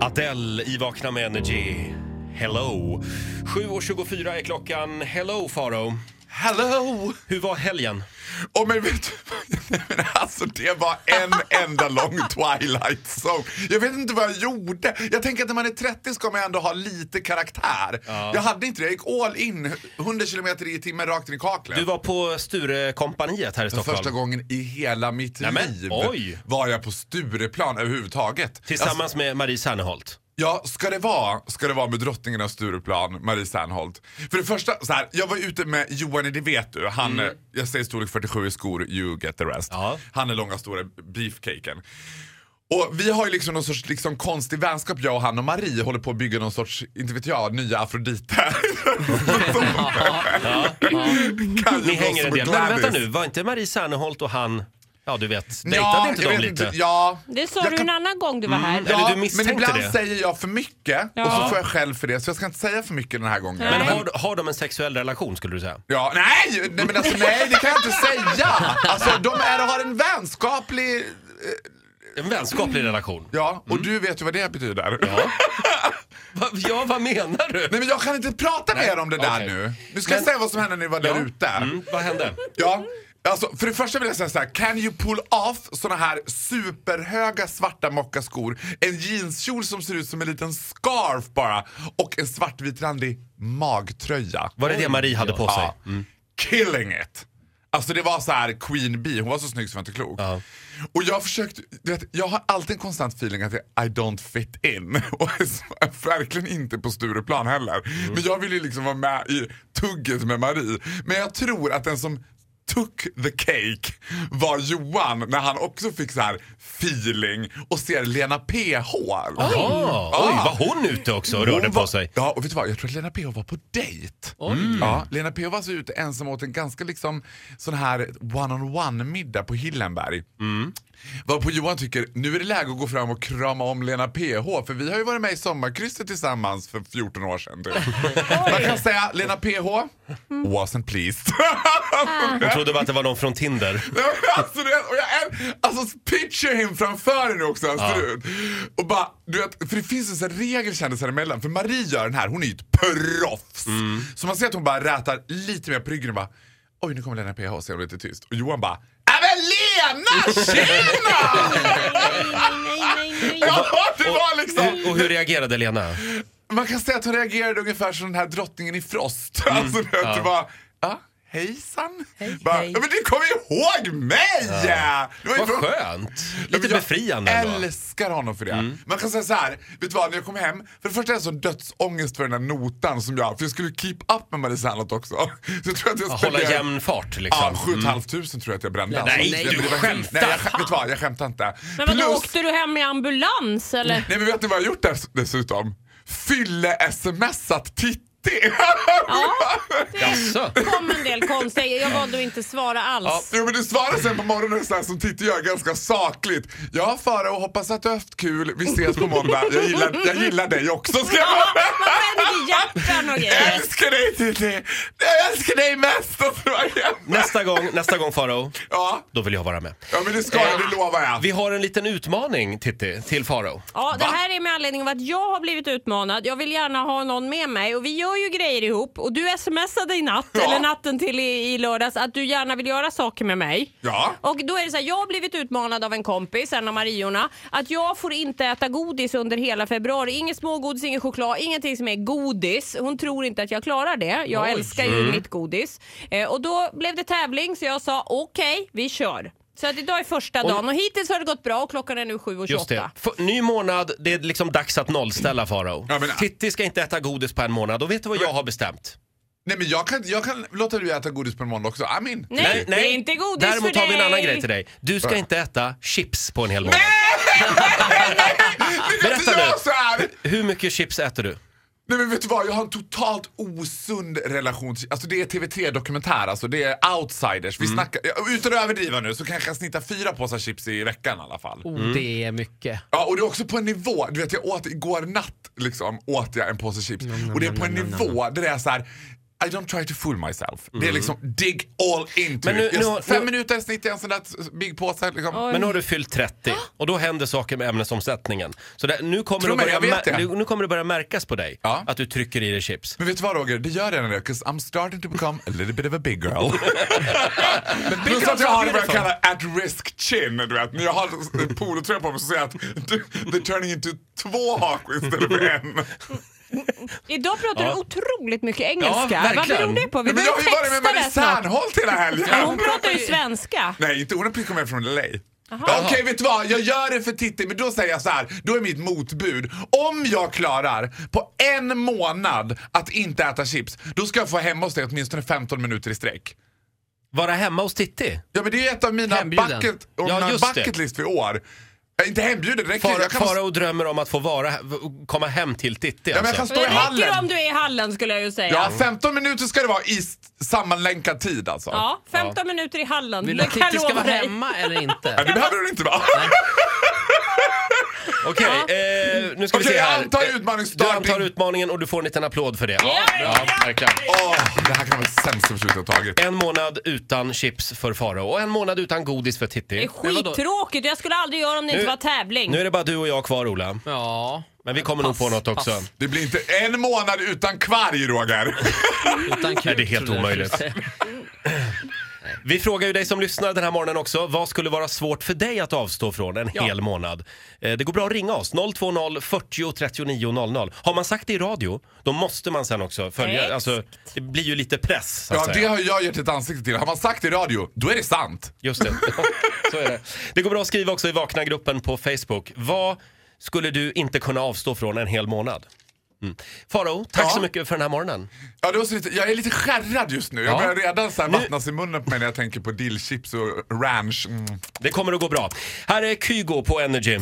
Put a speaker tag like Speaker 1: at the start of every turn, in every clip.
Speaker 1: Adele i Vakna med Energy. Hello. 7.24 är klockan. Hello, Faro.
Speaker 2: Hello!
Speaker 1: Hur var helgen?
Speaker 2: Och men vet du, nej, men alltså det var en enda lång Twilight Zone. Jag vet inte vad jag gjorde. Jag tänker att när man är 30 ska man ändå ha lite karaktär. Jag hade inte det. Jag gick all in, 100 kilometer i timmen rakt in i kaklet.
Speaker 1: Du var på Sturekompaniet här i Stockholm.
Speaker 2: Första gången i hela mitt
Speaker 1: Nej, men,
Speaker 2: liv
Speaker 1: oj.
Speaker 2: var jag på Stureplan överhuvudtaget.
Speaker 1: Tillsammans med Marie Serneholt.
Speaker 2: Ja, ska det vara, ska det vara med drottningen av Stureplan, Marie Serneholt. För det första, så här, jag var ute med Johan i Det vet du. Han, eh, jag säger storlek 47 i skor, you get the rest.
Speaker 1: Mm. Ja.
Speaker 2: Han är långa stora beefcaken. Och vi har ju liksom någon sorts liksom, konstig vänskap jag och han och Marie håller på att bygga någon sorts, inte vet jag, nya Afrodite. Kan ju
Speaker 1: Ni
Speaker 2: vara
Speaker 1: hänger en
Speaker 2: som
Speaker 1: del. Men
Speaker 2: Gladys.
Speaker 1: vänta nu, var inte Marie Serneholt och han... Ja, du vet. Dejtade
Speaker 2: Ja,
Speaker 1: inte
Speaker 2: jag
Speaker 1: de
Speaker 2: vet
Speaker 1: lite?
Speaker 2: inte, Ja,
Speaker 3: Det sa
Speaker 2: Jag
Speaker 3: du
Speaker 2: kan- Mm.
Speaker 3: en annan gång du var här.
Speaker 1: Eller
Speaker 2: Ja,
Speaker 1: du misstänkte
Speaker 2: men ibland
Speaker 1: det.
Speaker 2: säger jag för mycket och
Speaker 3: Ja.
Speaker 2: så får jag skäll för det så jag ska inte säga för mycket den här gången.
Speaker 1: Men
Speaker 3: Nej.
Speaker 1: har, har de en sexuell relation skulle du säga?
Speaker 2: Ja, nej, nej, men alltså, nej, det kan jag inte säga. Alltså, de är, har en vänskaplig...
Speaker 1: En vänskaplig relation?
Speaker 2: Ja, och du vet ju vad det betyder.
Speaker 1: Va, ja, vad menar du?
Speaker 2: Nej, men jag kan inte prata mer om det där
Speaker 1: okej.
Speaker 2: nu. Nu ska jag
Speaker 1: Men-
Speaker 2: säga vad som hände när ni var där ute.
Speaker 1: Mm, vad hände?
Speaker 2: Ja, alltså, för det första vill jag säga så här. Can you pull off såna här superhöga svarta mockaskor, en jeanskjol som ser ut som en liten scarf bara och en svartvit randig magtröja?
Speaker 1: Var det det Marie hade på sig? Mm.
Speaker 2: Ja. Killing it! Alltså det var så här Queen Bee, hon var så snygg som jag inte är klok.
Speaker 1: Ja.
Speaker 2: Och jag försökte, du vet, jag har alltid en konstant feeling att jag, I don't fit in. Och så- verkligen inte på Stureplan heller. Men jag vill ju liksom vara med i tugget med Marie. Men jag tror att den som took the cake var Johan när han också fick så här feeling och ser Lena PH.
Speaker 1: Ah,
Speaker 2: Ja.
Speaker 1: Oj, var hon ute också och rörde
Speaker 2: Hon
Speaker 1: på
Speaker 2: var-
Speaker 1: sig?
Speaker 2: Ja, och vet du vad? Jag tror att Lena PH var på dejt. Ja, Lena PH var så ute ensam och åt en ganska liksom sån här one-on-one middag på Hillenberg. Varpå Johan tycker, nu är det läge att gå fram och krama om Lena PH för vi har ju varit med i Sommarkrysset tillsammans för 14 år sedan. Typ. Man kan säga, Lena PH wasn't pleased.
Speaker 1: Hon trodde bara att det var någon från Tinder.
Speaker 2: Nej, men alltså, du vet, och jag är, alltså picture him framför er nu också hur han ser ut. Och bara, du vet, för det finns en sån här regel kändisar emellan. För Marie gör den här, hon är ju ett proffs. Så man ser att hon bara rätar lite mer på ryggen och bara Oj nu kommer Lena PH och så är hon lite tyst. Och Johan bara "Ja, men Lena, tjena!
Speaker 3: Nej, nej, nej, nej.
Speaker 2: ja, det var liksom...
Speaker 1: Och hur reagerade Lena?
Speaker 2: Man kan säga att hon reagerade ungefär som den här drottningen i Frost.
Speaker 1: Mm.
Speaker 2: Alltså, du vet, det var, ja, hejsan. bara,
Speaker 3: hej.
Speaker 2: "Ja, Men du kommer ihåg mig! Det var ju
Speaker 1: Vad
Speaker 2: från-
Speaker 1: skönt!
Speaker 2: Ja,
Speaker 1: Lite
Speaker 2: men jag
Speaker 1: befriande ändå. Mm.
Speaker 2: älskar honom för det. Man kan säga så här, vet du vad, när jag kom hem, för det första är jag så dödsångest för den här notan som jag, för jag skulle keep up med Marie Serneholt också. Så jag tror att jag
Speaker 1: Hålla
Speaker 2: spenderade-
Speaker 1: jämn fart liksom.
Speaker 2: Ja, 7 500 tror jag att jag
Speaker 1: Nej,
Speaker 2: brände. alltså.
Speaker 1: nej,
Speaker 2: Det-
Speaker 1: du
Speaker 2: det var hemskt.
Speaker 1: skämtar.
Speaker 2: Nej, jag, skä- vet du vad, jag skämtar inte.
Speaker 3: Men vadå, åkte du hem i ambulans eller?
Speaker 2: nej men vet ni vad jag har gjort dess, dessutom? Fylle-smsat Titti!
Speaker 1: Jaså?
Speaker 3: kom en del konstiga. Jag valde att inte svara alls.
Speaker 2: Jo men du svarade sen på morgonen så här som Titti gör ganska sakligt. Ja Farao, hoppas att du har haft kul. Vi ses på måndag. Jag gillar, jag gillar dig också ska jag bara-
Speaker 3: Man brände hjärtan och
Speaker 2: Jag
Speaker 3: grejer.
Speaker 2: älskar dig Titti! Jag älskar dig mest! Och så var jag hemma.
Speaker 1: Nästa gång, nästa gång Faro,
Speaker 2: Ja,
Speaker 1: då vill jag vara med.
Speaker 2: ja men det ska jag, det lovar jag.
Speaker 1: Vi har en liten utmaning Titti, till Faro.
Speaker 3: Ja, det
Speaker 2: Va?
Speaker 3: här är med anledning av att jag har blivit utmanad. Jag vill gärna ha någon med mig och vi gör ju grejer ihop. Och du smsade i natt,
Speaker 2: Ja.
Speaker 3: eller natten till i, i lördags, att du gärna vill göra saker med mig.
Speaker 2: Ja.
Speaker 3: Och då är det så här, jag har blivit utmanad av en kompis, en av Mariorna, att jag får inte äta godis under hela februari. Inget smågodis, ingen choklad, ingenting som är godis. Hon tror inte att jag klarar det. Jag
Speaker 1: Oj. Mm.
Speaker 3: älskar ju mitt godis. Eh, och då blev det tävling så jag sa okej, vi kör. Så att idag är första dagen och hittills har det gått bra och klockan är nu 7.28.
Speaker 1: Just det. F- ny månad, det är liksom dags att nollställa Faro.
Speaker 2: Ja, men-
Speaker 1: Titti ska inte äta godis på en månad och vet du vad jag har bestämt?
Speaker 2: Nej men jag kan, jag kan låta du äta godis på en måndag också. I'm in.
Speaker 3: Nej, det är inte godis
Speaker 1: Däremot
Speaker 3: för
Speaker 1: har vi en
Speaker 3: dig.
Speaker 1: annan grej till dig. Du ska
Speaker 2: Va?
Speaker 1: inte äta chips på en hel månad.
Speaker 2: Nej,
Speaker 1: berätta
Speaker 2: jag
Speaker 1: nu.
Speaker 2: så här.
Speaker 1: Hur mycket chips äter du?
Speaker 2: Nej men vet du vad, jag har en totalt osund relation till, alltså det är TV3-dokumentär, alltså det är outsiders. Vi
Speaker 1: Mm.
Speaker 2: snackar, ja, utan att överdriva nu så kanske jag snittar fyra påsar chips i veckan i alla fall.
Speaker 1: Mm.
Speaker 4: Oh, det är mycket.
Speaker 2: Ja, och det är också på en nivå. Du vet, jag åt igår natt liksom, åt jag en påse chips. och det är på en nivå där det är så här. I don't try to fool myself. Det är liksom dig all into
Speaker 1: Mm. Men nu-
Speaker 2: it. Just
Speaker 1: nu-
Speaker 2: fem
Speaker 1: nu-
Speaker 2: minuter snitt i en sån där t- big påse. Liksom.
Speaker 1: Men nu har du fyllt 30
Speaker 3: Ah.
Speaker 1: och då händer saker med ämnesomsättningen. Så det, nu, kommer
Speaker 2: Tror
Speaker 1: det
Speaker 2: mig,
Speaker 1: börja
Speaker 2: jag vet
Speaker 1: mär-
Speaker 2: det.
Speaker 1: nu kommer det börja märkas på dig
Speaker 2: Ja.
Speaker 1: att du trycker i dig chips.
Speaker 2: Men vet du vad Roger, det gör den nu, 'cause I'm starting to become a little bit of a big girl. Plus att jag har det jag kallar at risk chin, du vet. När jag har eh, polotröja på mig så säger jag att du- they're turning into två hakor istället för en.
Speaker 3: Idag pratar du otroligt mycket
Speaker 1: Ja,
Speaker 3: engelska. Vad
Speaker 1: verkligen.
Speaker 3: beror det på? Vi
Speaker 2: Men jag har
Speaker 3: behöver
Speaker 2: ju varit med
Speaker 3: texta
Speaker 2: Marie
Speaker 3: det snart.
Speaker 2: Serneholt hela helgen.
Speaker 3: Hon pratar ju svenska.
Speaker 2: Nej, inte hon har kommit hem från LA. Okej, vet du vad? Jag gör det för Titti, men då säger jag så här. Då är mitt motbud. Om jag klarar på en månad att inte äta chips, då ska jag få hemma hos dig åtminstone 15 minuter i sträck.
Speaker 1: Vara hemma hos Titti.
Speaker 2: Ja, men det är ett av mina
Speaker 4: Hembjuden.
Speaker 2: bucket,
Speaker 1: Ja,
Speaker 2: ja,
Speaker 1: just det.
Speaker 2: bucket list för i år. Jag är inte hembjuden, det räcker.
Speaker 1: Fara,
Speaker 2: Jag kan,
Speaker 1: Farao drömmer om att få vara, komma hem till Titti.
Speaker 2: ja, men jag
Speaker 1: Alltså.
Speaker 2: kan
Speaker 3: Det
Speaker 2: stå i
Speaker 3: räcker om
Speaker 2: hallen.
Speaker 3: du är i hallen skulle jag ju säga.
Speaker 2: Ja, 15 minuter ska det vara i s- sammanlänkad tid alltså.
Speaker 3: Ja, 15 minuter i hallen.
Speaker 4: Vill du
Speaker 3: Det
Speaker 4: att
Speaker 3: kan
Speaker 4: Titti
Speaker 3: jag
Speaker 4: ska
Speaker 3: lova
Speaker 4: vara
Speaker 3: dig.
Speaker 4: hemma eller
Speaker 2: Nej,
Speaker 4: inte?
Speaker 2: det behöver du inte vara.
Speaker 1: Okej, eh, nu ska vi
Speaker 2: Okej,
Speaker 1: se
Speaker 2: jag
Speaker 1: här.
Speaker 2: antar
Speaker 1: Eh,
Speaker 2: utmaningsdagen.
Speaker 1: Du antar utmaningen och du får en liten applåd för det.
Speaker 3: Ja,
Speaker 1: verkligen.
Speaker 2: Åh, det här kan vara det sämsta beslutet jag har tagit.
Speaker 1: En månad utan chips för Farao och en månad utan godis för
Speaker 3: Det är
Speaker 1: Titti.
Speaker 4: Men vadå?
Speaker 3: skittråkigt. Jag skulle aldrig göra om det inte
Speaker 1: Nu-
Speaker 3: var tävling.
Speaker 1: Nu är det bara du och jag kvar, Ola.
Speaker 4: Ja,
Speaker 1: Men vi kommer nog
Speaker 4: Pass,
Speaker 1: på något
Speaker 4: pass.
Speaker 1: också.
Speaker 2: Det blir inte en månad utan kvarg, Roger.
Speaker 4: utan kul.
Speaker 1: det är helt
Speaker 4: trodde jag
Speaker 1: omöjligt.
Speaker 4: skulle säga.
Speaker 1: Vi frågar ju dig som lyssnar den här morgonen också. Vad skulle vara svårt för dig att avstå från en hel månad? Eh, Det går bra att ringa oss. 020 40 39 00. Har man sagt det i radio, då måste man sen också följa.
Speaker 3: Exakt.
Speaker 1: Alltså, det blir ju lite press, så att
Speaker 2: Ja, det
Speaker 1: säga.
Speaker 2: har jag gett ett ansikte till. Har man sagt i radio, då är det sant.
Speaker 1: Just det. så är det. Det går bra att skriva också i Vakna-gruppen på Facebook. Vad skulle du inte kunna avstå från en hel månad? Mm. Faro, tack
Speaker 2: Ja.
Speaker 1: så mycket för den här morgonen.
Speaker 2: Ja, det var så lite, jag är lite skärrad just nu.
Speaker 1: Ja.
Speaker 2: Jag börjar redan så här
Speaker 1: Nu-
Speaker 2: vattnas i munnen på mig när jag tänker på dillchips och ranch. Mm.
Speaker 1: Det kommer att gå bra. Här är Kygo på Energy.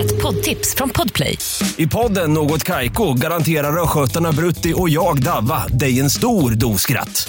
Speaker 5: Ett poddtips från Podplay.
Speaker 6: I podden Något Kaiko garanterar östgötarna Brutti och jag, Davva, dig en stor dos skratt.